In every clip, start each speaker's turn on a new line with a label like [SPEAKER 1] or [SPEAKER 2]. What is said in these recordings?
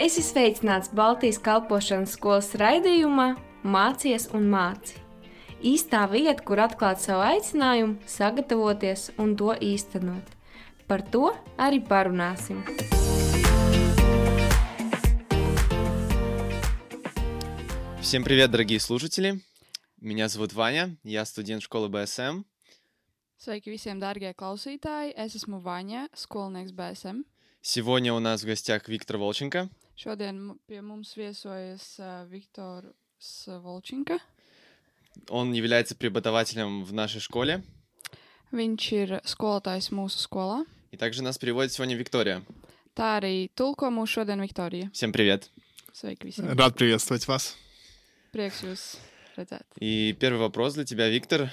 [SPEAKER 1] Es izveicināts Baltijas kalpošanas skolas raidījumā Mācies un māci. Īstā vieta, kur atklāt savu aicinājumu, sagatavoties un to īstenot. Par to arī parunāsim.
[SPEAKER 2] Всем привет, дорогие слушатели. Меня зовут Ваня, я студент школы БСМ.
[SPEAKER 3] Sveiki visiem, dārgie klausītāji! Es esmu Vaņa, skolnieks BSM.
[SPEAKER 2] Сегодня у нас в гостях Виктор Волченко.
[SPEAKER 3] Šodien mu- pie mums viesojas uh, Viktors ā, Volčinka.
[SPEAKER 2] Он является преподавателем в нашей школе.
[SPEAKER 3] Viņš ir skolotājs mūsu skolā.
[SPEAKER 2] И также нас переводит сегодня Виктория.
[SPEAKER 3] Tā arī tulko mūsu šodien Viktorija.
[SPEAKER 2] Всем привет.
[SPEAKER 3] Sveiki visiem!
[SPEAKER 4] Рад приветствовать вас.
[SPEAKER 3] Prieks jūs redzēt!
[SPEAKER 2] И первый вопрос для тебя, Виктор.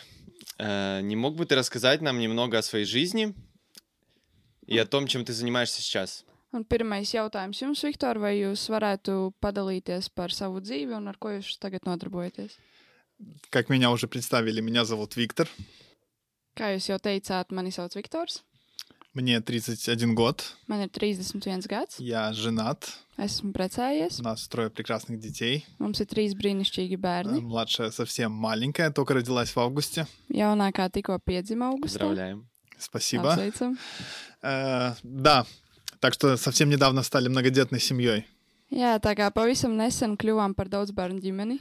[SPEAKER 2] Э, Не мог бы ты рассказать нам немного о своей жизни и о том, чем ты занимаешься сейчас?
[SPEAKER 3] Un pirmais jautājums jums, Viktor, vai jūs varētu padalīties par savu dzīvi un ar ko jūs tagad nodarbojaties?
[SPEAKER 4] Как меня уже представили, меня зовут Виктор,
[SPEAKER 3] Kā jūs jau teicāt, mani sauc Viktors,
[SPEAKER 4] мне 31 год,
[SPEAKER 3] man ir 31 gads,
[SPEAKER 4] я женат,
[SPEAKER 3] esmu precējies,
[SPEAKER 4] у нас трое прекрасных детей.
[SPEAKER 3] mums ir trīs brīnišķīgi
[SPEAKER 4] Э,
[SPEAKER 3] bērni.
[SPEAKER 4] Младшая совсем маленькая, только родилась в августе.
[SPEAKER 3] Jaunākā tikko piedzima augustā.
[SPEAKER 2] Поздравляем.
[SPEAKER 4] Спасибо.
[SPEAKER 3] Apsveicam.
[SPEAKER 4] Э, да, так что совсем недавно стали многодетной семьей.
[SPEAKER 3] Jā, tā kā pavisam nesen kļuvām par daudz bērnu ģimeni.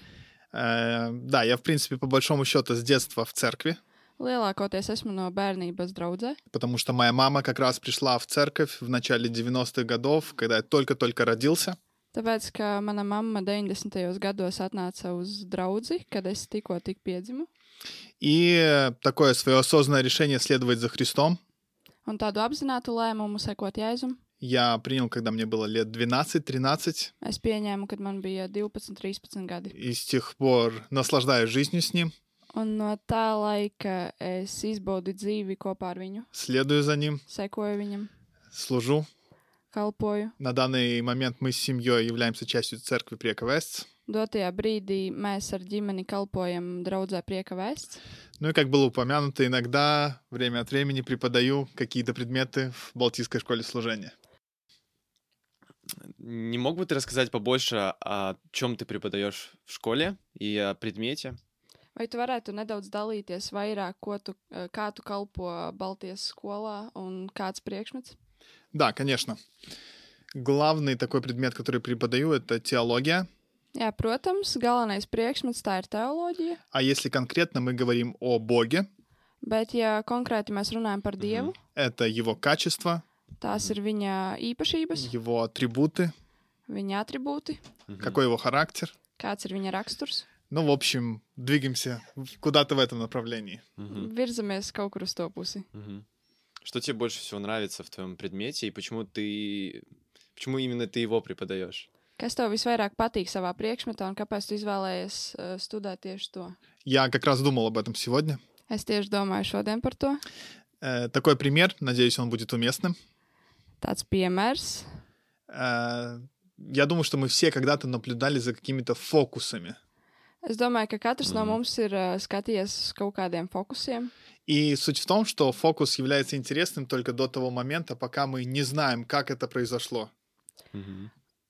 [SPEAKER 4] Э, да, я, в принципе, по большому счету с детства в церкви,
[SPEAKER 3] Lielākoties esmu no bērnības draudzē.
[SPEAKER 4] потому что моя мама как раз пришла в церковь в начале 90-х годов, когда я только-только родился.
[SPEAKER 3] Tāpēc, ka mana mamma 90. gados atnāca uz draugu, kad es tikko tik piedzimu,
[SPEAKER 4] И э, такое свое осознанное решение следовать за Христом
[SPEAKER 3] un tādu apzinātu lēmumu sekot jēzum,
[SPEAKER 4] я принял, когда мне было лет 12-13,
[SPEAKER 3] es pieņēmu, kad man bija 12, 13 gadi.
[SPEAKER 4] и с тех пор наслаждаюсь жизнью с ним,
[SPEAKER 3] Un no tā laika es izbaudu dzīvi kopā ar viņu,
[SPEAKER 4] следую за ним,
[SPEAKER 3] sekoju viņam,
[SPEAKER 4] служу.
[SPEAKER 3] kalpoju.
[SPEAKER 4] На данный момент мы с семьей являемся частью церкви Прековест.
[SPEAKER 3] Dotajā brīdī mēs ar ģimeni kalpojam draugā prieka vēsts.
[SPEAKER 4] Ну и, как было упомянуто, иногда время от времени преподаю какие-то предметы в Балтийской школе служения.
[SPEAKER 2] Не мог бы ты рассказать побольше, о чем ты преподаешь в škole и о предмете?
[SPEAKER 3] Vai tu varētu nedaudz dalīties vairāk, ko tu, eh, kā tu kalpo Baltijas skolā un kāds priekšmets?
[SPEAKER 4] Да, конечно. Главный такой предмет, который преподаю, это теология.
[SPEAKER 3] Jā, protams, galvenais priekšmets tā ir teoloģija,
[SPEAKER 4] А если конкретно мы говорим о Боге,
[SPEAKER 3] bet, ja konkrēti mēs runājam par Dievu,
[SPEAKER 4] это его качество,
[SPEAKER 3] tās ir viņa īpašības,
[SPEAKER 4] его атрибуты,
[SPEAKER 3] viņa atribūti,
[SPEAKER 2] Мгм.
[SPEAKER 4] какой его характер.
[SPEAKER 3] kāds ir viņa raksturs.
[SPEAKER 4] Ну, в общем, двигаемся в- куда-то в этом направлении.
[SPEAKER 3] Mhm.
[SPEAKER 2] Мгм.
[SPEAKER 3] Virzamies kaut kur uz to pusi.
[SPEAKER 2] Мгм. Что тебе больше всего нравится в твоем предмете и почему ты, почему именно ты его преподаешь?
[SPEAKER 3] Kas tev visvairāk patīk savā priekšmetā un kāpēc tu izvēlējies eh, studēt tieši to?
[SPEAKER 4] Я как раз думал об этом сегодня.
[SPEAKER 3] Es tieši domāju šodien par to.
[SPEAKER 4] Э, такой пример, надеюсь, он будет уместным.
[SPEAKER 3] Tāds piemērs.
[SPEAKER 4] Э, я думаю, что мы все когда-то наблюдали за какими-то фокусами.
[SPEAKER 3] Es domāju, ka katrs no
[SPEAKER 2] Mhm.
[SPEAKER 3] mums ir eh, skatījies uz kaut kādiem fokusiem.
[SPEAKER 4] И суть в том, что фокус является интересным только до того момента, пока мы не знаем, как это произошло.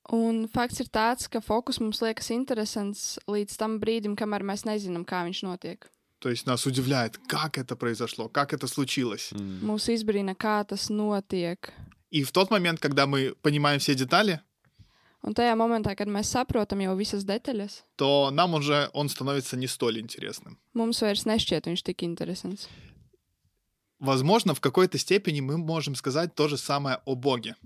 [SPEAKER 3] Un fakts ir tāds, ka fokus mums liekas interesants līdz tam brīdim, kamēr mēs nezinām, kā viņš notiek.
[SPEAKER 4] То есть нас удивляет, как это произошло, как это случилось.
[SPEAKER 2] Мгм.
[SPEAKER 3] Mūs izbrīna, kā tas notiek.
[SPEAKER 4] И в тот момент, когда мы понимаем все детали,
[SPEAKER 3] Un tajā momentā, kad mēs saprotam jau visas detaļas,
[SPEAKER 4] то нам уже он становится не столь интересным.
[SPEAKER 3] mums vairs nešķiet viņš tik interesants.
[SPEAKER 4] Возможно, в какой-то степени мы можем сказать то же самое о Боге.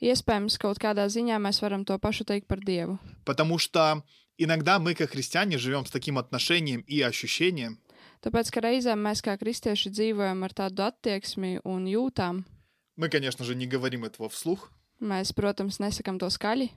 [SPEAKER 3] Iespējams, kaut kādā ziņā mēs varam to pašu teikt par Dievu.
[SPEAKER 4] Потому что иногда мы, как христиане, живем с таким отношением и ощущением,
[SPEAKER 3] Tāpēc, ka reizēm mēs kā kristieši dzīvojam ar tādu attieksmi un jūtām.
[SPEAKER 4] мы, конечно же, не говорим этого вслух,
[SPEAKER 3] Mēs, protams, nesakām to skaļi,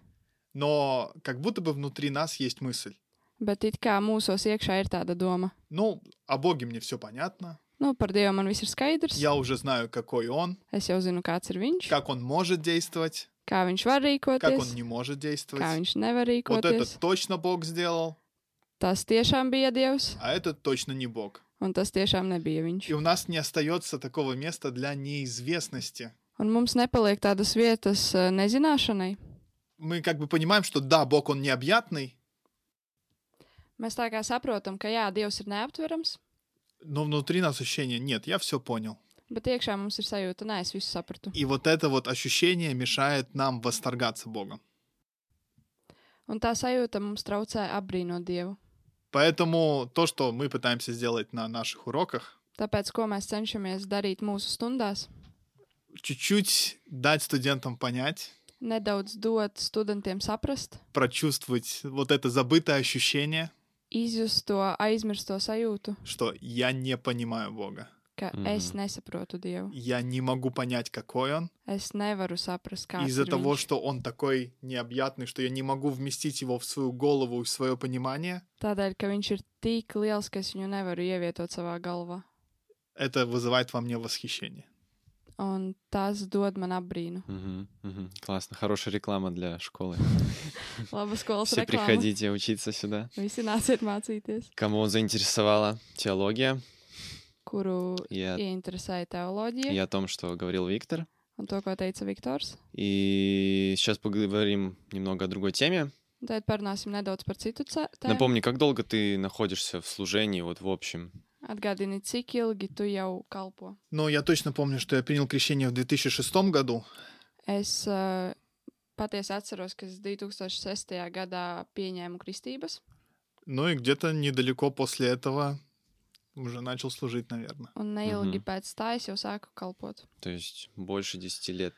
[SPEAKER 4] но как будто бы внутри нас есть мысль.
[SPEAKER 3] bet it kā mūsos iekšā ir tāda doma.
[SPEAKER 4] Ну, о Боге мне все понятно,
[SPEAKER 3] Nu, par Dievu man viss ir skaidrs.
[SPEAKER 4] я уже знаю, какой Он,
[SPEAKER 3] Es jau zinu, kāds ir viņš, kā,
[SPEAKER 4] как Он может действовать,
[SPEAKER 3] kā viņš var
[SPEAKER 4] как Он
[SPEAKER 3] rīkoties,
[SPEAKER 4] не может
[SPEAKER 3] kā
[SPEAKER 4] действовать.
[SPEAKER 3] viņš nevar
[SPEAKER 4] Вот это
[SPEAKER 3] rīkoties.
[SPEAKER 4] точно Бог сделал,
[SPEAKER 3] Tas tiešām bija Dievs,
[SPEAKER 4] а это точно не Бог.
[SPEAKER 3] un tas tiešām nebija viņš.
[SPEAKER 4] И у нас не остается такого места для неизвестности.
[SPEAKER 3] Un mums nepaliek tādas vietas eh, nezināšanai.
[SPEAKER 4] мы как бы понимаем, что да, Бог, он необъятный,
[SPEAKER 3] Mēs tā kā saprotam, ka jā, Dievs ir neaptverams,
[SPEAKER 4] но внутри нас ощущение «нет, я все понял».
[SPEAKER 3] bet iekšā mums ir sajūta, nē, es visu sapratu.
[SPEAKER 4] И вот это вот ощущение мешает нам восторгаться Богом.
[SPEAKER 3] Un tā sajūta mums traucē apbrīnot Dievu.
[SPEAKER 4] Поэтому то, что мы пытаемся сделать на наших уроках,
[SPEAKER 3] Tāpēc, ko mēs cenšamies darīt mūsu stundās,
[SPEAKER 4] чуть-чуть дать студентам понять,
[SPEAKER 3] nedaudz dot studentiem saprast,
[SPEAKER 4] прочувствовать вот это забытое ощущение,
[SPEAKER 3] izjust to aizmirsto sajūtu,
[SPEAKER 4] что я не понимаю Бога.
[SPEAKER 3] ka mm.
[SPEAKER 2] Mhm.
[SPEAKER 3] es nesaprotu Dievu.
[SPEAKER 4] Я не могу понять, какой он.
[SPEAKER 3] Es nevaru saprast, kāda
[SPEAKER 4] Из-за
[SPEAKER 3] ir
[SPEAKER 4] того,
[SPEAKER 3] viņš.
[SPEAKER 4] что он такой необъятный, что я не могу вместить его в свою голову, и в свое понимание,
[SPEAKER 3] Tādēļ, ka viņš ir tik liels, ka es viņu nevaru ievietot savā galvā.
[SPEAKER 4] это вызывает во мне восхищение.
[SPEAKER 3] Un tas dod man apbrīnu.
[SPEAKER 2] Мгм, мгм. Классно, хорошая reklama для школы.
[SPEAKER 3] Labas skolas
[SPEAKER 2] Все
[SPEAKER 3] reklāmas.
[SPEAKER 2] приходите учиться сюда.
[SPEAKER 3] Visi nāciet mācīties,
[SPEAKER 2] Кому заинтересовала теология
[SPEAKER 3] kuru
[SPEAKER 2] и о,
[SPEAKER 3] ieinteresēja teoloģija
[SPEAKER 2] и о том, что говорил Виктор.
[SPEAKER 3] un to, ko teica Viktors.
[SPEAKER 2] И сейчас поговорим немного о другой теме.
[SPEAKER 3] Un Tad parunāsim nedaudz par citu ce- tēmu.
[SPEAKER 2] Напомни, как долго ты находишься в служении, вот в общем?
[SPEAKER 3] Atgādini, cik ilgi tu jau kalpo.
[SPEAKER 4] Но я точно помню, что я принял крещение в 2006 году,
[SPEAKER 3] Es uh, patiesi atceros, ka es 2006. gadā pieņēmu kristības,
[SPEAKER 4] ну и где-то недалеко после этого уже начал служить, наверное.
[SPEAKER 3] un neilgi
[SPEAKER 2] Mhm.
[SPEAKER 3] pēc tā es jau sāku kalpot.
[SPEAKER 2] То есть больше 10 лет.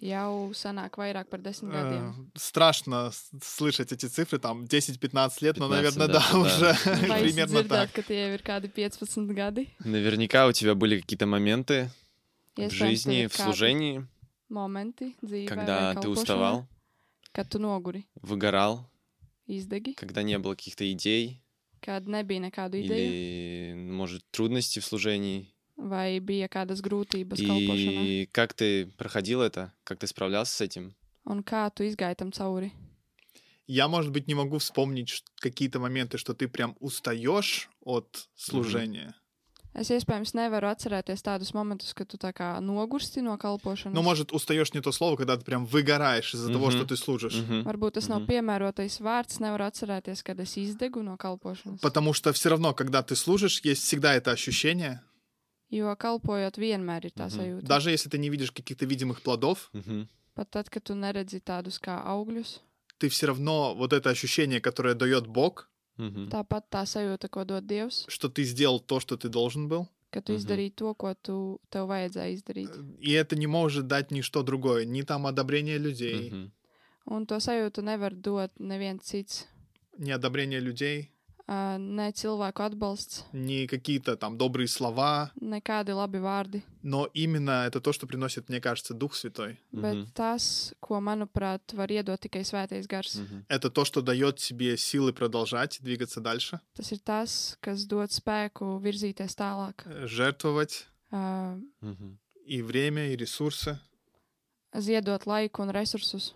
[SPEAKER 3] Jau sanāk vairāk par desmit
[SPEAKER 4] Э,
[SPEAKER 3] gadiem.
[SPEAKER 4] Страшно с- слышать эти цифры, там 10-15 лет, но,
[SPEAKER 2] 15,
[SPEAKER 4] наверное,
[SPEAKER 2] да,
[SPEAKER 4] да,
[SPEAKER 2] да.
[SPEAKER 4] уже
[SPEAKER 3] Vai es
[SPEAKER 4] примерно так.
[SPEAKER 3] dzirdētu, ka tie jau ir kādi 15 gadi?
[SPEAKER 2] Наверняка у тебя были какие-то моменты в
[SPEAKER 3] Iespējams,
[SPEAKER 2] жизни,
[SPEAKER 3] tev ir
[SPEAKER 2] в
[SPEAKER 3] kādi
[SPEAKER 2] служении,
[SPEAKER 3] Momenti dzīvē,
[SPEAKER 2] когда
[SPEAKER 3] vai
[SPEAKER 2] ты
[SPEAKER 3] kalpošanā,
[SPEAKER 2] уставал,
[SPEAKER 3] Kad tu noguri,
[SPEAKER 2] выгорал,
[SPEAKER 3] izdegi,
[SPEAKER 2] когда не было каких-то идей
[SPEAKER 3] kad nebija nekādu ideju,
[SPEAKER 2] или, может, трудностей в служении.
[SPEAKER 3] vai bija kādas grūtības kalpošanā.
[SPEAKER 2] И как ты проходил это? Как ты sправлялся с этим?
[SPEAKER 3] Un kā tu izgāji tam cauri?
[SPEAKER 4] Я, может быть, не могу вспомнить ш- какие-то моменты, что ты прям устаешь от служения.
[SPEAKER 3] Es iespējams nevaru atcerēties tādus momentus, kad tu tā kā nogursti no kalpošanas.
[SPEAKER 4] Ну, может, устаешь не то слово, когда ты прям выгораешь из-за того,
[SPEAKER 2] Мгм.
[SPEAKER 4] что ты служишь.
[SPEAKER 2] Мгм.
[SPEAKER 3] Varbūt tas nav
[SPEAKER 2] Mhm.
[SPEAKER 3] piemērotais vārds, nevaru atcerēties, kad es izdegu no kalpošanas.
[SPEAKER 4] Потому что все равно, когда ты служишь, есть всегда это ощущение,
[SPEAKER 3] Jo kalpojot, vienmēr ir tā
[SPEAKER 2] Mhm.
[SPEAKER 3] sajūta.
[SPEAKER 4] даже если ты не видишь каких-то видимых плодов,
[SPEAKER 2] Мгм.
[SPEAKER 3] Pat tad, kad tu neredzi tādus kā augļus,
[SPEAKER 4] ты все равно вот это ощущение, которое дает Бог,
[SPEAKER 2] Мгм.
[SPEAKER 3] tāpat tā sajūta, ko dod Dievs,
[SPEAKER 4] что ты сделал то, что ты должен был,
[SPEAKER 3] ka tu
[SPEAKER 2] Mhm.
[SPEAKER 3] izdarīji to, ko tu, tev vajadzēja izdarīt.
[SPEAKER 4] и это не может дать ничто другое, ни там одобрение людей,
[SPEAKER 2] Мгм.
[SPEAKER 3] Un to sajūtu nevar dot neviens cits.
[SPEAKER 4] ни одобрение людей,
[SPEAKER 3] Ā, Ne cilvēku atbalsts,
[SPEAKER 4] ни какие-то там добрые слова,
[SPEAKER 3] nekādi labi vārdi,
[SPEAKER 4] но именно это то, что приносит, мне кажется, Дух Святой.
[SPEAKER 3] bet
[SPEAKER 2] Mhm.
[SPEAKER 3] tas, ko, manuprāt, var iedot tikai svētais gars.
[SPEAKER 2] Мгм.
[SPEAKER 4] Это то, что дает тебе силы продолжать двигаться дальше,
[SPEAKER 3] Tas ir tas, kas dod spēku virzīties tālāk.
[SPEAKER 4] э, жертвовать
[SPEAKER 3] Ā,
[SPEAKER 2] Мгм.
[SPEAKER 4] и время, и ресурсы.
[SPEAKER 3] Ziedot laiku un resursus.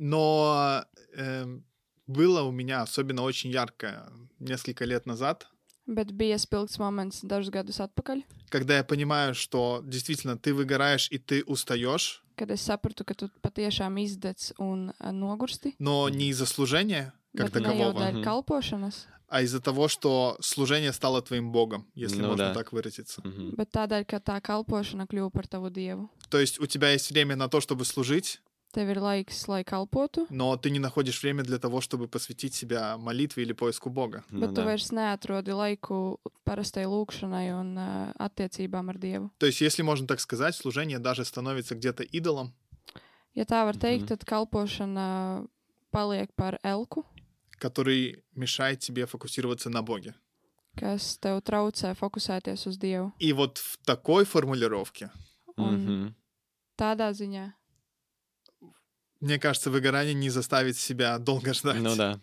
[SPEAKER 4] Но эм, было у меня особенно очень ярко несколько лет назад,
[SPEAKER 3] Bet bija spilgts moments dažus gadus atpakaļ,
[SPEAKER 4] когда я понимаю, что действительно ты выгораешь и ты устаешь,
[SPEAKER 3] kad es sapratu, ka tu patiešām izdedz un ā, nogursti.
[SPEAKER 4] но не из-за служения как
[SPEAKER 3] Bet ne jau
[SPEAKER 4] такового,
[SPEAKER 2] да.
[SPEAKER 3] dēļ
[SPEAKER 2] Mhm.
[SPEAKER 3] kalpošanas,
[SPEAKER 4] а из-за того, что служение стало твоим богом, если
[SPEAKER 2] Ну да.
[SPEAKER 4] можно так выразиться.
[SPEAKER 2] Мгм.
[SPEAKER 3] bet tādēļ, ka tā kalpošana kļuva par tavu dievu.
[SPEAKER 4] То есть у тебя есть время на то, чтобы служить,
[SPEAKER 3] Tev ir laiks, lai kalpotu,
[SPEAKER 4] но ты не находишь время для того, чтобы посвятить себя молитве или поиску Бога.
[SPEAKER 2] Ну
[SPEAKER 3] Bet tu
[SPEAKER 2] да.
[SPEAKER 3] vairs neatrodi laiku parastai lūkšanai un uh, attiecībām ar Dievu.
[SPEAKER 4] То есть, если можно так сказать, служение даже становится где-то идолом,
[SPEAKER 3] Ja tā var teikt,
[SPEAKER 2] Mhm.
[SPEAKER 3] tad kalpošana paliek par elku,
[SPEAKER 4] который мешает тебе фокусироваться на Боге.
[SPEAKER 3] kas tev traucē fokusēties uz Dievu.
[SPEAKER 4] И вот в такой формулировке,
[SPEAKER 3] Un
[SPEAKER 2] Мгм.
[SPEAKER 3] tādā ziņā
[SPEAKER 4] мне кажется, выгорание не заставит себя долго ждать.
[SPEAKER 2] Ну да.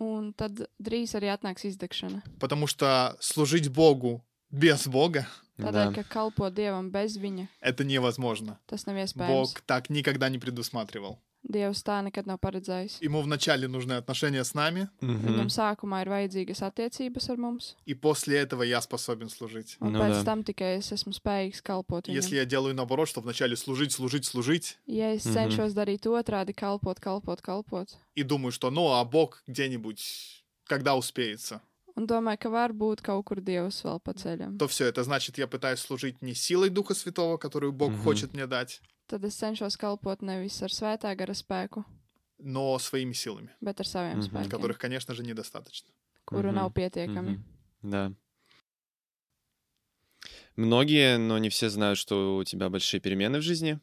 [SPEAKER 3] Un tad drīz arī atnāks izdegšana.
[SPEAKER 4] Потому что служить Богу без Бога
[SPEAKER 2] Да.
[SPEAKER 3] Tādēļ, ka kalpot Dievam bez viņa,
[SPEAKER 4] это невозможно.
[SPEAKER 3] tas nav iespējams.
[SPEAKER 4] Бог так никогда не предусматривал.
[SPEAKER 3] Dievs tā nekad nav paredzējis.
[SPEAKER 4] Ему вначале нужны отношения с нами,
[SPEAKER 2] Mhm.
[SPEAKER 3] Viņam sākumā ir vajadzīgas attiecības ar mums,
[SPEAKER 4] и после этого я способен служить.
[SPEAKER 3] un
[SPEAKER 2] Nu
[SPEAKER 3] nu,
[SPEAKER 2] jā.
[SPEAKER 3] pēc tam tikai es esmu spējīgs kalpot viņam.
[SPEAKER 4] Если я делаю наоборот, что вначале служить, служить, служить,
[SPEAKER 3] Ja es
[SPEAKER 2] Mhm.
[SPEAKER 3] cenšos darīt otrādi, kalpot, kalpot, kalpot,
[SPEAKER 4] и думаю, что ну, а Бог где-нибудь, когда успеется,
[SPEAKER 3] un domāju, ka varbūt kaut kur Dievs vēl pa ceļam,
[SPEAKER 4] то все это значит, я пытаюсь служить не силой Духа Святого, которую Бог
[SPEAKER 2] Мгм.
[SPEAKER 4] хочет мне дать,
[SPEAKER 3] tad es cenšos kalpot nevis ar svētā gara spēku,
[SPEAKER 4] но своими силами,
[SPEAKER 3] bet ar saviem
[SPEAKER 2] Mhm.
[SPEAKER 3] mm -hmm. spēkiem,
[SPEAKER 4] которых, конечно же, недостаточно.
[SPEAKER 3] kuru mm -hmm.
[SPEAKER 2] Mhm.
[SPEAKER 3] nav pietiekami. Mm
[SPEAKER 2] Мгм. Да. Многие, но не все знают, что у тебя большие перемены в жизни.
[SPEAKER 3] -hmm.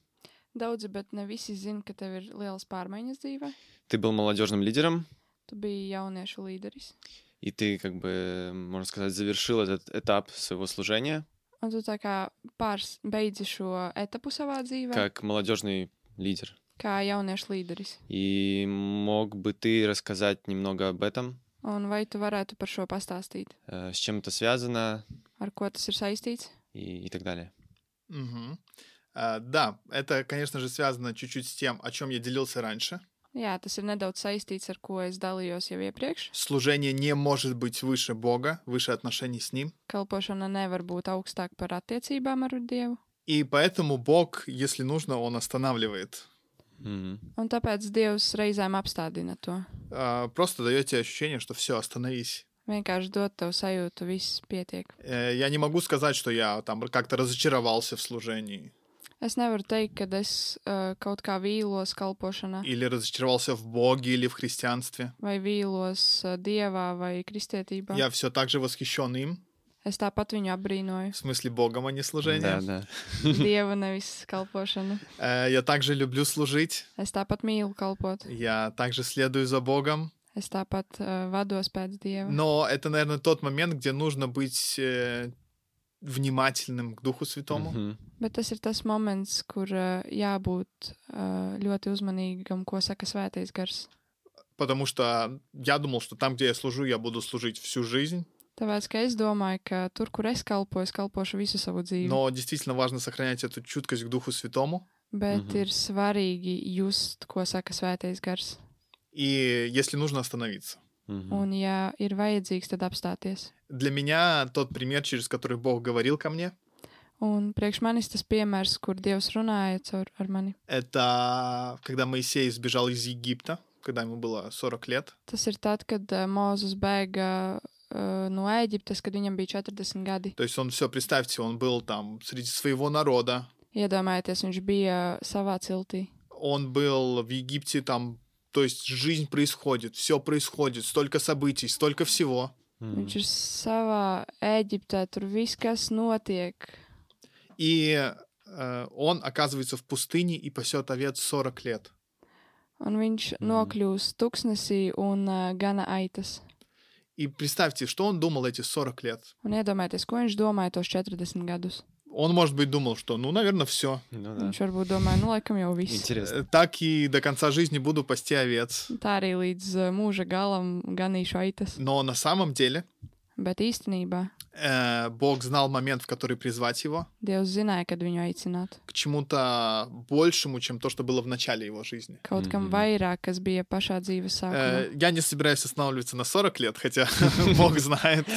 [SPEAKER 3] Daudzi, bet ne visi zina, ka tev ir liels pārmaiņas dzīvē.
[SPEAKER 2] Ты был молодежным лидером,
[SPEAKER 3] Tu biji jauniešu līderis,
[SPEAKER 2] и ты, как бы, можно сказать, завершил этот этап своего служения
[SPEAKER 3] un tu tā kā pārs beidzi šo etapu savā dzīvē, kā,
[SPEAKER 2] как молодежный лидер.
[SPEAKER 3] kā jauniešu līderis.
[SPEAKER 2] И мог бы ты рассказать немного об этом?
[SPEAKER 3] Un vai tu varētu par šo pastāstīt?
[SPEAKER 2] Э, С чем это связано
[SPEAKER 3] Ar ko tas ir saistīts?
[SPEAKER 2] и, и так далее?
[SPEAKER 4] Мгм. А, да, это, конечно же, связано чуть-чуть с тем, о чем я делился раньше.
[SPEAKER 3] Jā, tas ir nedaudz saistīts ar ko es dalījos jau iepriekš.
[SPEAKER 4] Служение не может быть выше Бога, выше отношений с Ним.
[SPEAKER 3] Kalpošana nevar būt augstāk par attiecībām ar Dievu.
[SPEAKER 4] И поэтому Бог, если нужно, Он останавливает.
[SPEAKER 2] Мгм.
[SPEAKER 3] Un tāpēc Dievs reizēm apstādina to.
[SPEAKER 4] А, Просто даете ощущение, что все, остановись.
[SPEAKER 3] Vienkārši dot tev sajūtu, viss pietiek.
[SPEAKER 4] Э, Я не могу сказать, что я там как-то разочаровался в служении
[SPEAKER 3] Es nevaru teikt, ka es uh, kaut kā vīlos kalpošanā,
[SPEAKER 4] или разочаровался в Боге или в христианстве.
[SPEAKER 3] vai vīlos uh, Dievā, vai kristietībā.
[SPEAKER 4] Я все так же восхищен им,
[SPEAKER 3] Es tāpat viņu
[SPEAKER 4] в
[SPEAKER 3] apbrīnoju.
[SPEAKER 4] смысле Богом, а не
[SPEAKER 2] Да,
[SPEAKER 4] служением.
[SPEAKER 2] да.
[SPEAKER 3] Dievu nevis kalpošanu.
[SPEAKER 4] Э, Я также люблю служить,
[SPEAKER 3] Es tāpat mīlu kalpot.
[SPEAKER 4] я также следую за Богом.
[SPEAKER 3] Es tāpat uh, vados pēc Dieva.
[SPEAKER 4] Но это, наверное, тот момент, где нужно быть э, внимательным к Духу Святому.
[SPEAKER 2] Мгм.
[SPEAKER 3] Bet tas ir tas moments, kur ā, jābūt ā, ļoti uzmanīgam, ko saka svētais gars.
[SPEAKER 4] Потому что я думал, что там, где я служу, я буду служить всю жизнь.
[SPEAKER 3] Tāpēc, ka es domāju, ka tur, kur es kalpoju, es kalpošu visu savu dzīvi.
[SPEAKER 4] Но действительно важно сохранять эту чуткость к Духу Святому.
[SPEAKER 3] Bet
[SPEAKER 2] Mhm.
[SPEAKER 3] ir svarīgi just, ko saka svētais gars.
[SPEAKER 4] И если нужно остановиться.
[SPEAKER 2] Мгм.
[SPEAKER 3] Un, ja ir vajadzīgs, tad apstāties.
[SPEAKER 4] Для меня тот пример, через который Бог говорил ко мне,
[SPEAKER 3] Un priekš manis tas piemērs, kur Dievs runāja caur ar mani.
[SPEAKER 4] это когда Моисей сбежал из Египta, когда ему было 40 лет.
[SPEAKER 3] Tas ir tad, kad ā, Mozus bēga ā, no Ēģiptes, kad viņam bija 40 gadi.
[SPEAKER 4] То есть он все, представьте, он был там среди своего народа.
[SPEAKER 3] Iedomājieties, viņš bija eh, savā ciltī.
[SPEAKER 4] Он был в Египте там, то есть жизнь происходит, все происходит, столько событий, столько всего.
[SPEAKER 2] Мгм.
[SPEAKER 3] Viņš ir savā Eģiptē, tur viss, kas notiek.
[SPEAKER 4] И э, он оказывается в пустыне и пасет овец 40 лет.
[SPEAKER 3] Un viņš
[SPEAKER 2] Mhm.
[SPEAKER 3] nokļūst tuksnesī un uh, gana aitas.
[SPEAKER 4] И представьте, что он думал эти 40 лет.
[SPEAKER 3] Un iedomājieties, ko viņš domāja tos 40 gadus.
[SPEAKER 4] Он, может быть, думал, что, ну, наверное, все.
[SPEAKER 2] Ну
[SPEAKER 3] Jā.
[SPEAKER 2] да.
[SPEAKER 3] Viņš varbūt domāja, nu, laikam jau viss.
[SPEAKER 2] Интересно.
[SPEAKER 4] Так и до конца жизни буду пасти овец.
[SPEAKER 3] Tā arī līdz uh, mūža galam ganīšu aitas.
[SPEAKER 4] Но на самом деле
[SPEAKER 3] Bet īstenībā
[SPEAKER 4] э, Бог знал момент, в который призвать его
[SPEAKER 3] Dievs zināja, kad viņu aicināt.
[SPEAKER 4] к чему-то большему, чем то, что было в начале его жизни.
[SPEAKER 3] Kaut
[SPEAKER 2] Mhm.
[SPEAKER 3] kam vairāk, kas bija pašā dzīves
[SPEAKER 4] Э,
[SPEAKER 3] sākumā.
[SPEAKER 4] я не собираюсь останавливаться на 40 лет, хотя Бог знает.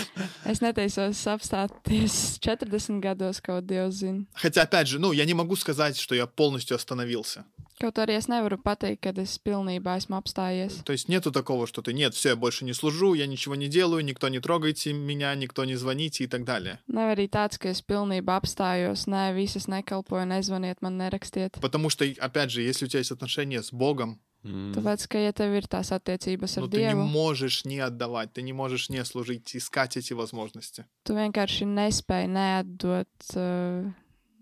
[SPEAKER 3] Es neteisos apstāties 40 gados, kaut Dievs zina.
[SPEAKER 4] Хотя, опять же, ну, я не могу сказать, что я полностью остановился.
[SPEAKER 3] Kaut arī es nevaru pateikt, kad es pilnībā esmu apstājies.
[SPEAKER 4] То есть нету такого, что ты нет, все, я больше не служу, я ничего не делаю, никто не трогайте меня, никто не звоните и так далее.
[SPEAKER 3] Nav arī tāds, ka es pilnībā apstājos, nē, visas nekalpoju, nezvaniet man, nerakstiet.
[SPEAKER 4] Потому что, опять же, если у тебя есть отношения с Богом,
[SPEAKER 2] Мгм.
[SPEAKER 3] Tāpēc, ka, ja tev ir tās attiecības ar
[SPEAKER 4] ну, ты не
[SPEAKER 3] Dievu,
[SPEAKER 4] можешь не отдавать, ты не можешь не служить, искать эти возможности.
[SPEAKER 3] tu vienkārši nespēji neatdot, uh,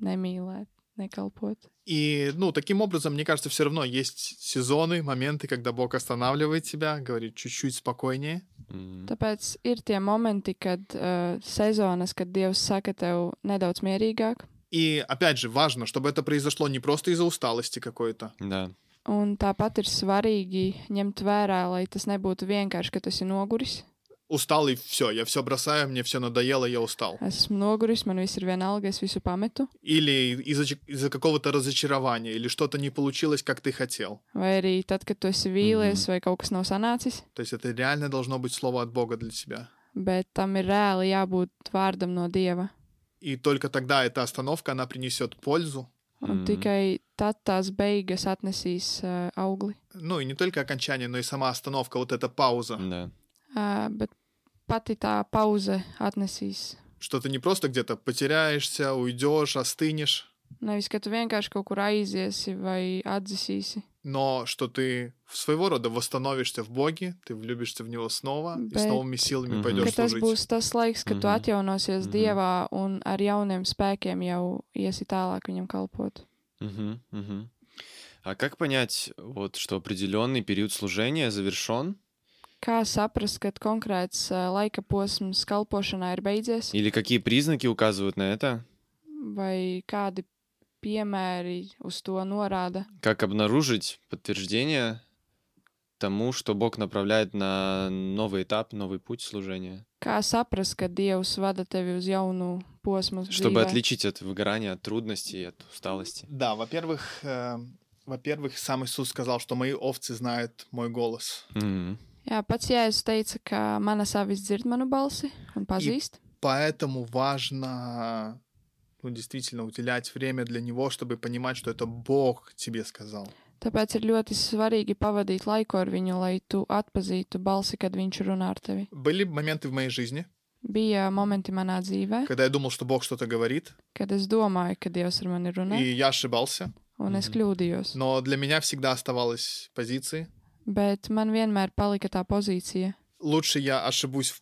[SPEAKER 3] nemīlēt, nekalpot.
[SPEAKER 4] Mm. И, ну, таким образом, мне кажется, все равно есть сезоны, моменты, когда Бог останавливает тебя, говорит чуть-чуть спокойнее.
[SPEAKER 2] Мгм.
[SPEAKER 3] Tāpēc ir tie momenti, kad uh, sezonas, kad Dievs saka tev nedaudz mierīgāk,
[SPEAKER 4] И, опять же, важно, чтобы это произошло не просто из-за усталости какой-то,
[SPEAKER 2] Да.
[SPEAKER 3] un tāpat ir svarīgi ņemt vērā, lai tas nebūtu vienkārši, ka tu esi noguris,
[SPEAKER 4] устал и все, я все бросаю, мне все надоело, я устал.
[SPEAKER 3] Es esmu noguris, man viss ir vienalga, es visu pametu.
[SPEAKER 4] Или из-за, ч- из-за какого-то разочарования, или что-то не получилось, как ты хотел.
[SPEAKER 3] Vai arī tad, kad tu esi vīlies vai kaut kas nav sanācis,
[SPEAKER 4] То есть это реально должно быть слово от Бога для тебя.
[SPEAKER 3] bet tam ir reāli jābūt vārdam no dieva.
[SPEAKER 4] И только тогда эта остановка, она принесет пользу.
[SPEAKER 3] Un
[SPEAKER 2] Mhm.
[SPEAKER 3] tikai tad tās beigas atnesīs uh, augli.
[SPEAKER 4] Ну и не только окончание, но и сама остановка, вот эта пауза.
[SPEAKER 2] Да.
[SPEAKER 3] Uh, bet pati tā pauze atnesīs.
[SPEAKER 4] Что ты не просто где-то потеряешься, уйдешь, остынешь,
[SPEAKER 3] Nevis, ka tu vienkārši kaut kur aiziesi vai atzīsi,
[SPEAKER 4] но что ты в своего рода восстановишься в Боге, ты влюбишься в Него снова и с
[SPEAKER 3] Бэ-
[SPEAKER 4] новыми силами
[SPEAKER 2] Мгм.
[SPEAKER 4] пойдешь
[SPEAKER 3] ka tas
[SPEAKER 4] служить.
[SPEAKER 3] būs tas laiks, kad tu
[SPEAKER 2] Mhm.
[SPEAKER 3] atjaunosies
[SPEAKER 2] Mhm.
[SPEAKER 3] Dievā un ar jauniem spēkiem jau iesi tālāk viņam kalpot.
[SPEAKER 2] Мгм, мгм. А как понять, вот, что определенный период служения завершен?
[SPEAKER 3] Kā saprast, kad konkrēts ā, laika posms kalpošanā ir beidzies,
[SPEAKER 2] Или какие признаки указывают на это?
[SPEAKER 3] vai kādi piemēri uz to norāda?
[SPEAKER 2] Как обнаружить подтверждение тому, что Бог направляет на новый этап, новый путь служения?
[SPEAKER 3] Kā saprast, ka Dievs vada tevi uz jaunu posmu?
[SPEAKER 2] Чтобы
[SPEAKER 3] dzīvē?
[SPEAKER 2] отличить от выгорания, от трудностей, от усталости.
[SPEAKER 4] Да, во-первых, э, во-первых, сам Иисус сказал, что мои овцы знают мой голос.
[SPEAKER 2] Мгм.
[SPEAKER 3] Jā, pats Jēzus teica, ka mana savis dzird manu balsi un pazīst.
[SPEAKER 4] Поэтому важно ну, действительно уделять время для него, чтобы понимать, что это Бог тебе сказал.
[SPEAKER 3] Tāpēc ir ļoti svarīgi pavadīt laiku ar viņu, lai tu atpazītu balsi, kad viņš runā ar tevi.
[SPEAKER 4] Были моменты в моей жизни,
[SPEAKER 3] Bija momenti manā dzīvē,
[SPEAKER 4] когда я думал, что Бог что-то говорит,
[SPEAKER 3] kad es domāju, ka Dievs ar mani runā,
[SPEAKER 4] и я ошибался,
[SPEAKER 3] un es
[SPEAKER 2] Mhm.
[SPEAKER 3] kļūdījos.
[SPEAKER 4] но для меня всегда оставалась позиции.
[SPEAKER 3] Bet man vienmēr palika tā pozīcija.
[SPEAKER 4] Лучше я ошибусь в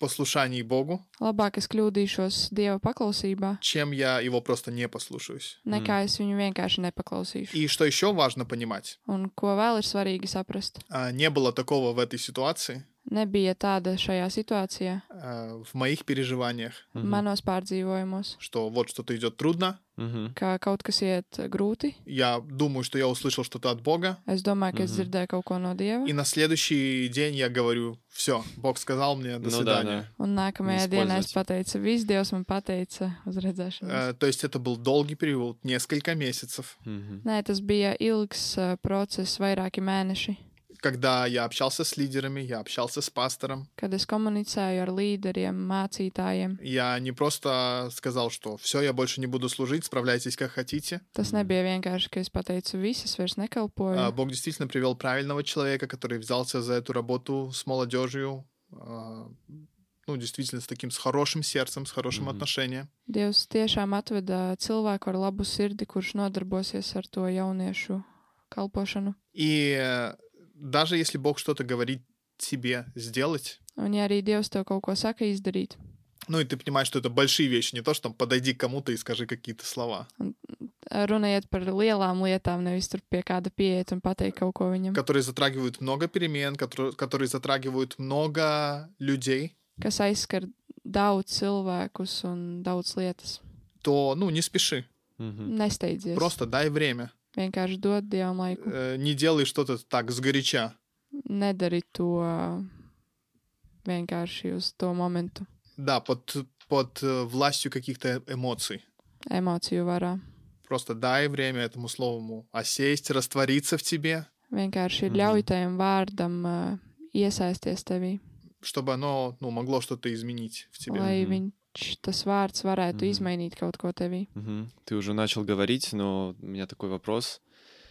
[SPEAKER 4] послушании Богу,
[SPEAKER 3] Labāk es kļūdīšos Dieva paklausībā,
[SPEAKER 4] чем я его просто не послушаюсь.
[SPEAKER 3] nekā
[SPEAKER 2] Mm.
[SPEAKER 3] es viņu vienkārši nepaklausīšu.
[SPEAKER 4] И что еще важно понимать,
[SPEAKER 3] Un ko vēl ir svarīgi saprast?
[SPEAKER 4] а, не было такого в этой ситуации,
[SPEAKER 3] Nebija tāda šajā situācijā,
[SPEAKER 4] а, в моих переживаниях,
[SPEAKER 2] Мгм.
[SPEAKER 3] manos pārdzīvojumos,
[SPEAKER 4] что вот что-то идет трудно.
[SPEAKER 2] Мгм.
[SPEAKER 3] ka kaut kas iet grūti.
[SPEAKER 4] Я думаю, что я услышал что-то от Бога.
[SPEAKER 3] Es domāju, ka es
[SPEAKER 2] Mhm.
[SPEAKER 3] dzirdēju kaut ko no Dieva.
[SPEAKER 4] И на следующий день я говорю, все, Бог сказал мне,
[SPEAKER 2] Ну
[SPEAKER 4] до
[SPEAKER 2] да,
[SPEAKER 4] свидания.
[SPEAKER 3] Un nākamajā dienā es
[SPEAKER 2] Neizpolzot.
[SPEAKER 3] pateicu, viss Dievs man pateica, uz redzēšanos.
[SPEAKER 4] Э, то есть это был долгий период, несколько месяцев,
[SPEAKER 2] Мгм.
[SPEAKER 3] Nē, tas bija ilgs uh, process, vairāki mēneši,
[SPEAKER 4] когда я общался с лидерами, я общался с пастором.
[SPEAKER 3] kad es komunicēju ar līderiem, mācītājiem.
[SPEAKER 4] Я не просто сказал, что все, я больше не буду служить, справляйтесь как хотите.
[SPEAKER 3] Tas
[SPEAKER 2] Mhm.
[SPEAKER 3] nebija vienkārši, ka es pateicu, viss es vairs
[SPEAKER 4] А,
[SPEAKER 3] nekalpoju.
[SPEAKER 4] Бог действительно привел правильного человека, который взялся за эту работу с молодежью, а, ну, действительно, с таким, с хорошим сердцем, с хорошим
[SPEAKER 2] Мгм.
[SPEAKER 4] отношением.
[SPEAKER 3] Dievs tiešām atveda cilvēku ar labu sirdi, kurš nodarbosies ar to jauniešu kalpošanu.
[SPEAKER 4] И э, даже если Бог что-то говорит тебе сделать,
[SPEAKER 3] Un, ja arī Dievs tev kaut ko saka izdarīt,
[SPEAKER 4] ну и ты понимаешь, что это большие вещи, не то, что там подойди к кому-то и скажи какие-то слова,
[SPEAKER 3] runājiet par lielām lietām, nevis tur pie kāda pieiet un pateikt kaut ko viņam,
[SPEAKER 4] которые затрагивают много перемен, которые, которые затрagивают много людей,
[SPEAKER 3] kas aizskar daudz cilvēkus un daudz lietas.
[SPEAKER 4] то, ну, не спеши,
[SPEAKER 2] Мгм.
[SPEAKER 3] Nesteidzies.
[SPEAKER 4] просто дай время.
[SPEAKER 3] Vienkārši dod Dievam laiku.
[SPEAKER 2] Eh.
[SPEAKER 4] Э, Не делай что-то так сгоряча.
[SPEAKER 3] Nedari to vienkārši uz to momentu,
[SPEAKER 4] Да, под, под э, властью каких-то эмоций.
[SPEAKER 3] emociju varā.
[SPEAKER 4] Просто дай время этому слову осесть, rastвориться в тебе,
[SPEAKER 3] Vienkārši
[SPEAKER 2] Mhm.
[SPEAKER 3] ļauj tajam vārdam ā, iesaisties tevī,
[SPEAKER 4] чтобы оно ну, могло что-то изменить в тебе.
[SPEAKER 3] lai
[SPEAKER 2] Mhm.
[SPEAKER 3] viņš, tas vārds varētu
[SPEAKER 2] Mhm.
[SPEAKER 3] izmainīt kaut ko tevī.
[SPEAKER 2] Мгм. Ты уже начал говорить, но у меня такой вопрос.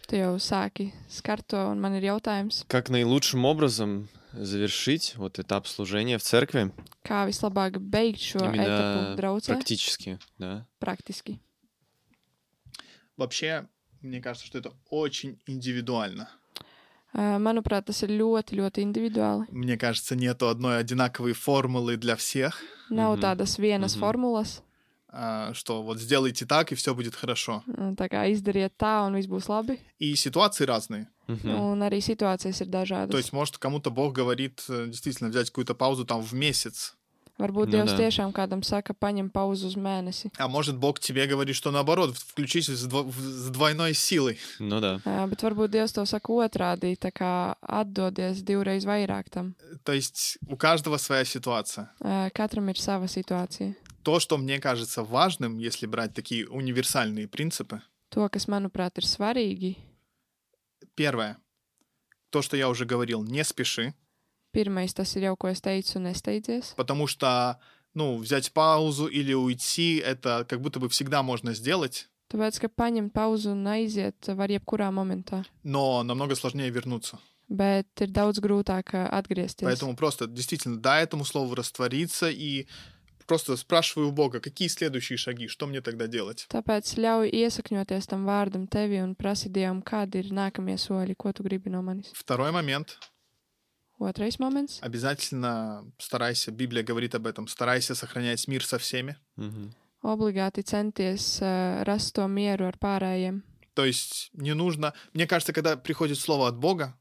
[SPEAKER 3] Tu jau sāki skart to, un man ir jautājums,
[SPEAKER 2] Как наилучшим образом завершить вот этап служения в церкви?
[SPEAKER 3] kā vislabāk beigt šo
[SPEAKER 2] Именно
[SPEAKER 3] etapu draudzē
[SPEAKER 2] практически, да?
[SPEAKER 3] praktiski.
[SPEAKER 4] Вообще, мне кажется, что это очень индивидуально.
[SPEAKER 3] Ā, Eh, Manuprāt, tas ir ļoti, ļoti individuāli.
[SPEAKER 4] Мне кажется, нету одной одинаковой формулы для всех,
[SPEAKER 3] Nav
[SPEAKER 2] Mhm.
[SPEAKER 3] tādas vienas
[SPEAKER 2] Mhm.
[SPEAKER 3] formulas,
[SPEAKER 4] а, что вот сделайте так, и все будет хорошо.
[SPEAKER 3] tā kā izdariet tā, un viss būs labi.
[SPEAKER 4] И ситуации разные.
[SPEAKER 2] Мгм.
[SPEAKER 3] Un arī situācijas ir
[SPEAKER 4] То
[SPEAKER 3] dažādas.
[SPEAKER 4] есть, может, кому-то Бог говорит э, действительно взять какую-то паузу там в месяц.
[SPEAKER 3] Varbūt
[SPEAKER 2] Nu
[SPEAKER 3] Dievs
[SPEAKER 2] da.
[SPEAKER 3] tiešām kādam saka, paņem pauzi uz mēnesi.
[SPEAKER 4] А может, Бог тебе говорит, что наоборот, включись с, дво- с двойной силой.
[SPEAKER 2] Nu da.
[SPEAKER 3] Ā, Bet varbūt Dievs to saka otrādi, tā kā atdodies divreiz vairāk tam.
[SPEAKER 4] То есть у каждого своя ситуация.
[SPEAKER 3] Ā, Katram ir sava situācija.
[SPEAKER 4] То, что мне кажется важным, если брать такие универсальные принципы.
[SPEAKER 3] To, kas manuprāt ir svarīgi,
[SPEAKER 4] Первое. То, что я уже говорил, не спеши,
[SPEAKER 3] pirmais tas ir jau, ko es teicu, nesteidzies.
[SPEAKER 4] потому что, ну, взять паузу или уйти, это как будто бы всегда можно сделать,
[SPEAKER 3] Tāpēc, ka paņemt pauzi un aiziet var jebkurā momentā.
[SPEAKER 4] но намного сложнее вернуться.
[SPEAKER 3] Bet ir daudz grūtāk ā, atgriezties.
[SPEAKER 4] Поэтому просто действительно дай этому слову раствориться и просто спрашиваю у Бога, какие следующие шаги, что мне тогда делать?
[SPEAKER 3] Tāpēc ļauj iesakņoties tam vārdam tevi un prasi Dievam, kādi ir nākamie soļi, ko tu gribi no manis.
[SPEAKER 4] Второй момент.
[SPEAKER 3] Otrais moments.
[SPEAKER 4] Обязательно старайся, Библия говорит об этом, старайся сохранять мир со всеми.
[SPEAKER 2] Мгм.
[SPEAKER 3] Obligāti centies uh, rast to mieru ar pārējiem.
[SPEAKER 4] То есть не нужно... Мне кажется, когда приходит слово от Бога,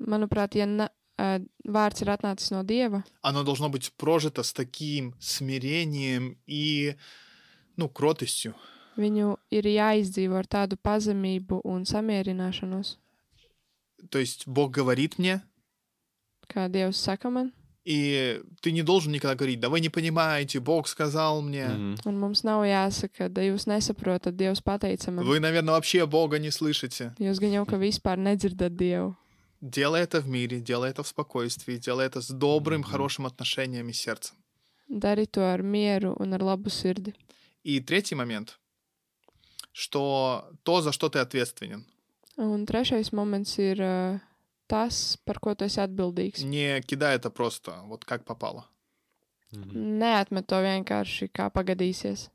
[SPEAKER 3] Manuprāt, ja na, uh, vārds ir atnācis no Dieva,
[SPEAKER 4] оно должно быть прожито с таким смирением и, ну, кротостью.
[SPEAKER 3] viņu ir jāizdzīvo ar tādu pazemību un samierināšanos,
[SPEAKER 4] То есть Бог говорит мне,
[SPEAKER 3] kā Dievs saka man.
[SPEAKER 4] и ты не должен никогда говорить, да вы не понимаете, Бог сказал мне,
[SPEAKER 2] Мгм.
[SPEAKER 3] Un mums nav jāsaka, ka jūs nesaprotat, Dievs pateica man.
[SPEAKER 4] вы, наверное, вообще Бога не слышите.
[SPEAKER 3] Jūs gan jau ka vispār nedzirdat Dievu.
[SPEAKER 4] Делай это в мире, делай это в спокойствии, делай это с добрым,
[SPEAKER 2] Мгм.
[SPEAKER 4] хорошим отношением и сердцем.
[SPEAKER 3] Dari to ar mieru un ar labu sirdi.
[SPEAKER 4] И третий момент, что то, за что ты ответственен,
[SPEAKER 3] Un trešais moments ir uh, tas, par ko tu esi atbildīgs.
[SPEAKER 4] не кидай это просто, вот как попало.
[SPEAKER 2] Мгм.
[SPEAKER 3] Neatmet to vienkārši kā pagadīsies.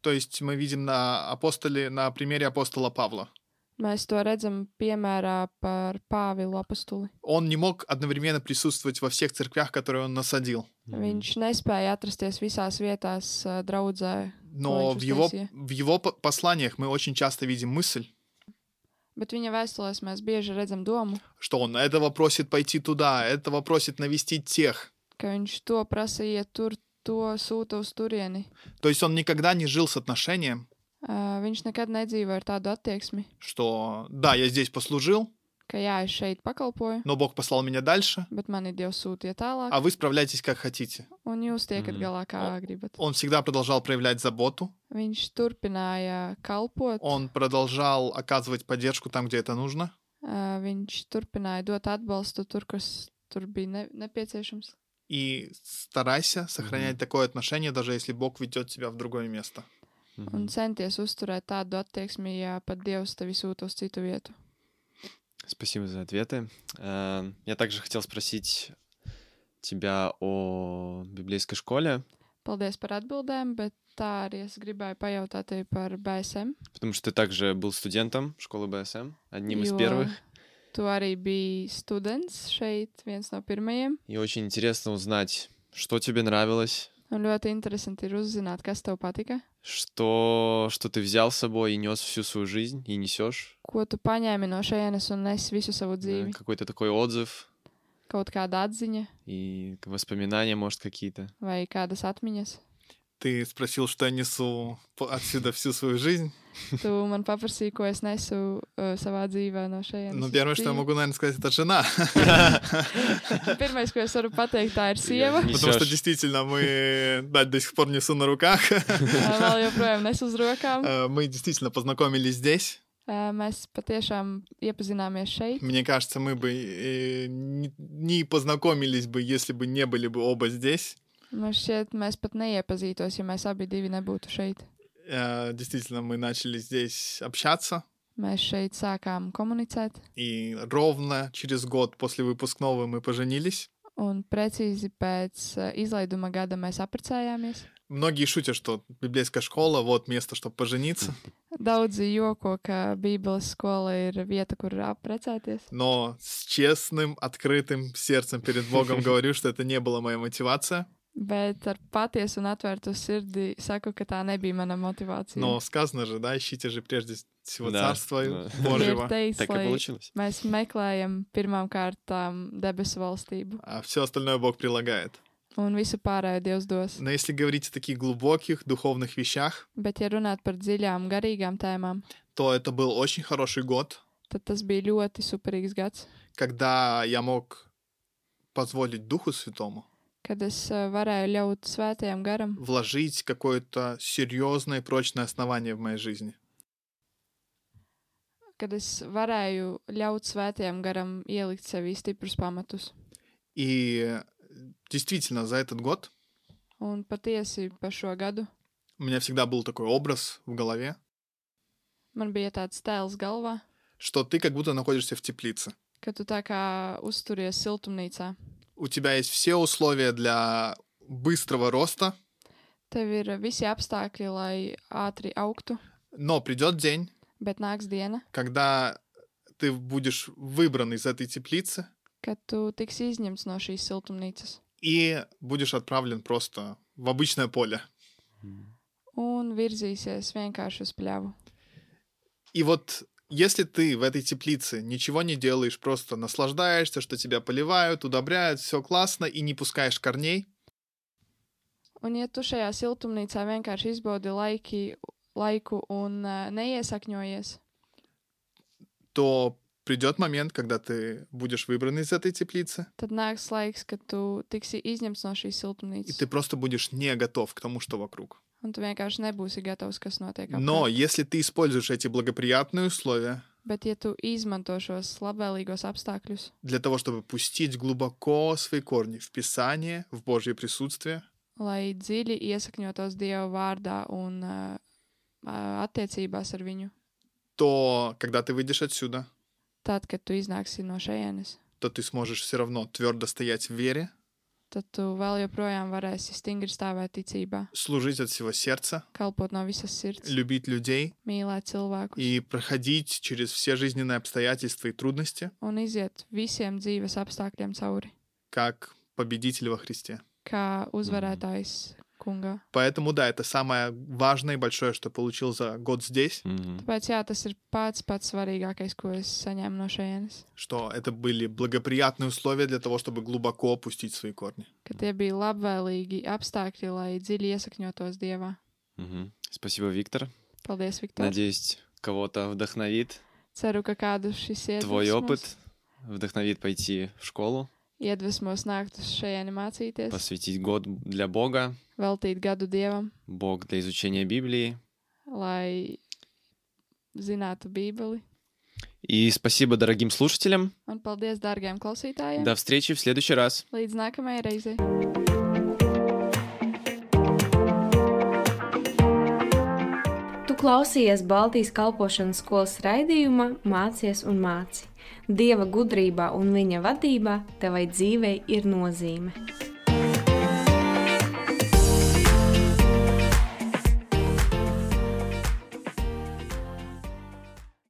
[SPEAKER 4] То есть мы видим на апостоле, на примере апостола Павла.
[SPEAKER 3] Mēs to redzam piemērā par Pāvila apstuli.
[SPEAKER 4] Он не мог одновременно присутствовать во всех церквях, которые он насадил.
[SPEAKER 3] Mm. Viņš nespēja atrasties visās vietās, uh, draudzē,
[SPEAKER 4] Но
[SPEAKER 3] Очень
[SPEAKER 4] в его,
[SPEAKER 3] красиво.
[SPEAKER 4] в его по- посланиях мы очень часто видим мысль,
[SPEAKER 3] bet viņa vēstulēs mēs bieži redzam domu,
[SPEAKER 4] что он этого просит пойти туда, этого просит навестить тех.
[SPEAKER 3] ka viņš to prasīja tur, to sūta uz turieni.
[SPEAKER 4] То есть он никогда не жил с отношением,
[SPEAKER 3] Uh, viņš nekad nedzīvoja ar tādu attieksmi,
[SPEAKER 4] что да, я здесь послужил,
[SPEAKER 3] ka jā, es šeit pakalpoju,
[SPEAKER 4] но Бог послал меня дальше,
[SPEAKER 3] bet man ir Dievs sūtīja tālāk,
[SPEAKER 4] а вы справляйтесь как хотите.
[SPEAKER 3] un jūs tiekat
[SPEAKER 2] Mhm.
[SPEAKER 3] galā, kā gribat.
[SPEAKER 4] Он всегда продолжал проявлять заботу,
[SPEAKER 3] Viņš turpināja kalpot, un...
[SPEAKER 4] он продолжал оказывать поддержку там, где это нужно.
[SPEAKER 3] viņš turpināja dot atbalstu tur, kas tur bija ne nepieciešams.
[SPEAKER 4] И старайся сохранять
[SPEAKER 2] Мгм.
[SPEAKER 4] такое отношение, даже если Бог ведет тебя в другое место.
[SPEAKER 2] Мгм.
[SPEAKER 3] Un centies uzturēt tādu attieksmi, ja pat Dievs tevi sūta uz citu vietu.
[SPEAKER 2] Спасибо за ответы. Э, Я также хотел спросить тебя о библейской школе,
[SPEAKER 3] Paldies par atbildēm, bet tā arī es gribēju pajautāt tevi par BSM.
[SPEAKER 2] потому что ты также был студентом школы БСМ, одним из
[SPEAKER 3] jo
[SPEAKER 2] первых.
[SPEAKER 3] Tu arī biji students šeit, viens no pirmajiem.
[SPEAKER 2] И очень интересно узнать, что тебе нравилось,
[SPEAKER 3] Un ļoti interesanti ir uzzināt, kas tev patika,
[SPEAKER 2] что, что ты взял с собой и нес всю свою жизнь, и несешь.
[SPEAKER 3] ko tu paņēmi no šejienes un nes visu savu dzīvi.
[SPEAKER 2] Какой-то такой отзыв
[SPEAKER 3] Kaut kāda atziņa
[SPEAKER 2] и воспоминания, может, какие-то.
[SPEAKER 3] vai kādas atmiņas.
[SPEAKER 4] Ты спросил, что я несу по- отсюда всю свою жизнь.
[SPEAKER 3] Tu man paprasīji, ko es nesu uh, savā dzīvē no šejienes.
[SPEAKER 4] Ну,
[SPEAKER 3] uz
[SPEAKER 4] первое, что я
[SPEAKER 3] dzīvi.
[SPEAKER 4] могу, наверное, сказать, это жена.
[SPEAKER 3] Pirmais, ko es varu pateikt, tā ir sieva.
[SPEAKER 2] Ты
[SPEAKER 4] Потому что
[SPEAKER 2] несёшь.
[SPEAKER 4] действительно мы да, до сих pор несу на руках.
[SPEAKER 3] Ā, Vēl joprojām nes uz rokām.
[SPEAKER 4] Э, Мы действительно познакомились здесь.
[SPEAKER 3] Ā, Mēs patiešām iepazināmies šeit.
[SPEAKER 4] Мне кажется, мы бы э, не- не познакомились бы, если бы не были бы оба здесь.
[SPEAKER 3] Man šķiet, mēs pat neiepazītos, ja mēs abi divi nebūtu šeit.
[SPEAKER 4] Э, Действительно, мы начали здесь общаться.
[SPEAKER 3] Mēs šeit sākām komunicēt,
[SPEAKER 4] И ровно через год после выпускного мы pоженились.
[SPEAKER 3] un precīzi pēc ā, izlaiduma gada mēs apprecējāmies.
[SPEAKER 4] Многие шутят, что библейская школа вот место, чтобы пожениться.
[SPEAKER 3] Daudzi joko, ka Bībeles skola ir vieta, kur apprecēties.
[SPEAKER 4] Но с честным, открытым сердцем перед Богом говорю, что это не была моя мотивация.
[SPEAKER 3] Bet ar patiesu un atvērtu sirdi saku, ka tā nebija mana motivācija.
[SPEAKER 4] Но сказано же, да, ищите же прежде всего
[SPEAKER 2] Да,
[SPEAKER 4] царства
[SPEAKER 2] да.
[SPEAKER 3] ir
[SPEAKER 4] Божьего.
[SPEAKER 3] teikts,
[SPEAKER 2] Так и
[SPEAKER 3] lai
[SPEAKER 2] получилось.
[SPEAKER 3] mēs meklējam pirmām kārtām debesu valstību,
[SPEAKER 4] А все остальное Бог прилагает.
[SPEAKER 3] un visu pārējo Dievs dos.
[SPEAKER 4] Но если говорить о таких глубоких духовных вещах,
[SPEAKER 3] Bet, ja runāt par dziļām, garīgām tēmām,
[SPEAKER 4] то это был очень хороший год,
[SPEAKER 3] tad tas bija ļoti superīgs gads,
[SPEAKER 4] когда я мог позволить Духу Святому
[SPEAKER 3] kad es eh, varēju ļaut svētajam garam
[SPEAKER 4] вложить какое-то серьезное и прочное основание в моей жизни.
[SPEAKER 3] kad es varēju ļaut svētajam garam ielikt sevī stiprus pamatus.
[SPEAKER 4] И действительно, за этот год
[SPEAKER 3] Un patiesi par šo gadu
[SPEAKER 4] у меня всегда был такой образ в голове,
[SPEAKER 3] man bija tāds tēls galvā,
[SPEAKER 4] что ты как будто находишься в теплице.
[SPEAKER 3] ka tu tā kā uzturies siltumnīcā.
[SPEAKER 4] У тебя есть все условия для быстрого роста,
[SPEAKER 3] Tev ir visi apstākļi, lai ātri augtu,
[SPEAKER 4] но придет день,
[SPEAKER 3] bet nāks diena,
[SPEAKER 4] когда ты будешь выбран из этой теплицы
[SPEAKER 3] kad tu tiksi izņemts no šīs siltumnīcas
[SPEAKER 4] и будешь отправлен просто в обычное поле.
[SPEAKER 3] un virzīsies vienkārši uz pļavu.
[SPEAKER 4] И вот если ты в этой теплице ничего не делаешь, просто наслаждаешься, что тебя поливают, удобряют, все классно, и не пускаешь корней,
[SPEAKER 3] Un, ja tu šajā siltumnīcā vienkārši izbaudi laiki, laiku un ā, neiesakņojies,
[SPEAKER 4] то придет момент, когда ты будешь выбран из этой теплицы,
[SPEAKER 3] tad nāks laiks, kad tu tiksi izņemts no šīs
[SPEAKER 4] и
[SPEAKER 3] siltumnīcas.
[SPEAKER 4] ты просто будешь не готов к тому, что вокруг.
[SPEAKER 3] Un tu vienkārši nebūsi gatavs, kas notiek. apkārt.
[SPEAKER 4] Но если ты используешь эти благоприятные условия
[SPEAKER 3] Bet, ja tu izmanto šos labvēlīgos apstākļus,
[SPEAKER 4] для того, чтобы пустить глубоко свои корни в Писание, в Божье присутствие,
[SPEAKER 3] lai dziļi iesakņotos Dieva vārdā un ā, ā, attiecībās ar viņu,
[SPEAKER 4] то когда ты выйдешь отсюда,
[SPEAKER 3] tad, kad tu iznāksi no šejienes,
[SPEAKER 4] то ты сможешь все равно твердо стоять в вере,
[SPEAKER 3] tad tu vēl joprojām varēsi stingri stāvēt ticībā,
[SPEAKER 4] служить от всего сердца,
[SPEAKER 3] kalpot no visas sirds,
[SPEAKER 4] любить людей
[SPEAKER 3] mīlēt cilvēkus
[SPEAKER 4] и проходить через все жизненные обстоятельства и трудности,
[SPEAKER 3] un iziet visiem dzīves apstākļiem cauri,
[SPEAKER 4] как победитель во Христе.
[SPEAKER 3] kā uzvarētājs kungā.
[SPEAKER 4] Поэтому, да, это самое важное и большое, что получил за год здесь,
[SPEAKER 2] Мгм.
[SPEAKER 3] Tāpēc, jā, tas ir pats pats svarīgākais, ko es saņēmu no šejienes.
[SPEAKER 4] что это были благоприятные условия для того, чтобы глубоко опустить свои корни.
[SPEAKER 3] ka tie bija labvēlīgi apstākļi, lai dziļi iesakņotos dievā.
[SPEAKER 2] Мгм. Спасибо, Виктор.
[SPEAKER 3] Paldies, Viktor.
[SPEAKER 2] Надеюсь, кого-то вдохновит
[SPEAKER 3] Ceru, ka kādu šis
[SPEAKER 2] твой
[SPEAKER 3] iedvesmos,
[SPEAKER 2] опыт, вдохновит пойти в школу,
[SPEAKER 3] iedvesmos nākt uz šejieni mācīties,
[SPEAKER 2] посвятить год для Бога,
[SPEAKER 3] veltīt gadu dievam,
[SPEAKER 2] Бог для изучения Библии.
[SPEAKER 3] lai zinātu Bībeli.
[SPEAKER 2] И спасибо дорогим слушателям.
[SPEAKER 3] Un paldies, dārgiem klausītājiem!
[SPEAKER 2] До встречи в следующий раз.
[SPEAKER 3] Līdz nākamajai reizei!
[SPEAKER 1] Tu klausījies Baltijas kalpošanas skolas raidījumā, mācies un māci. Dieva gudrībā un viņa vadībā tevai dzīvei ir nozīme.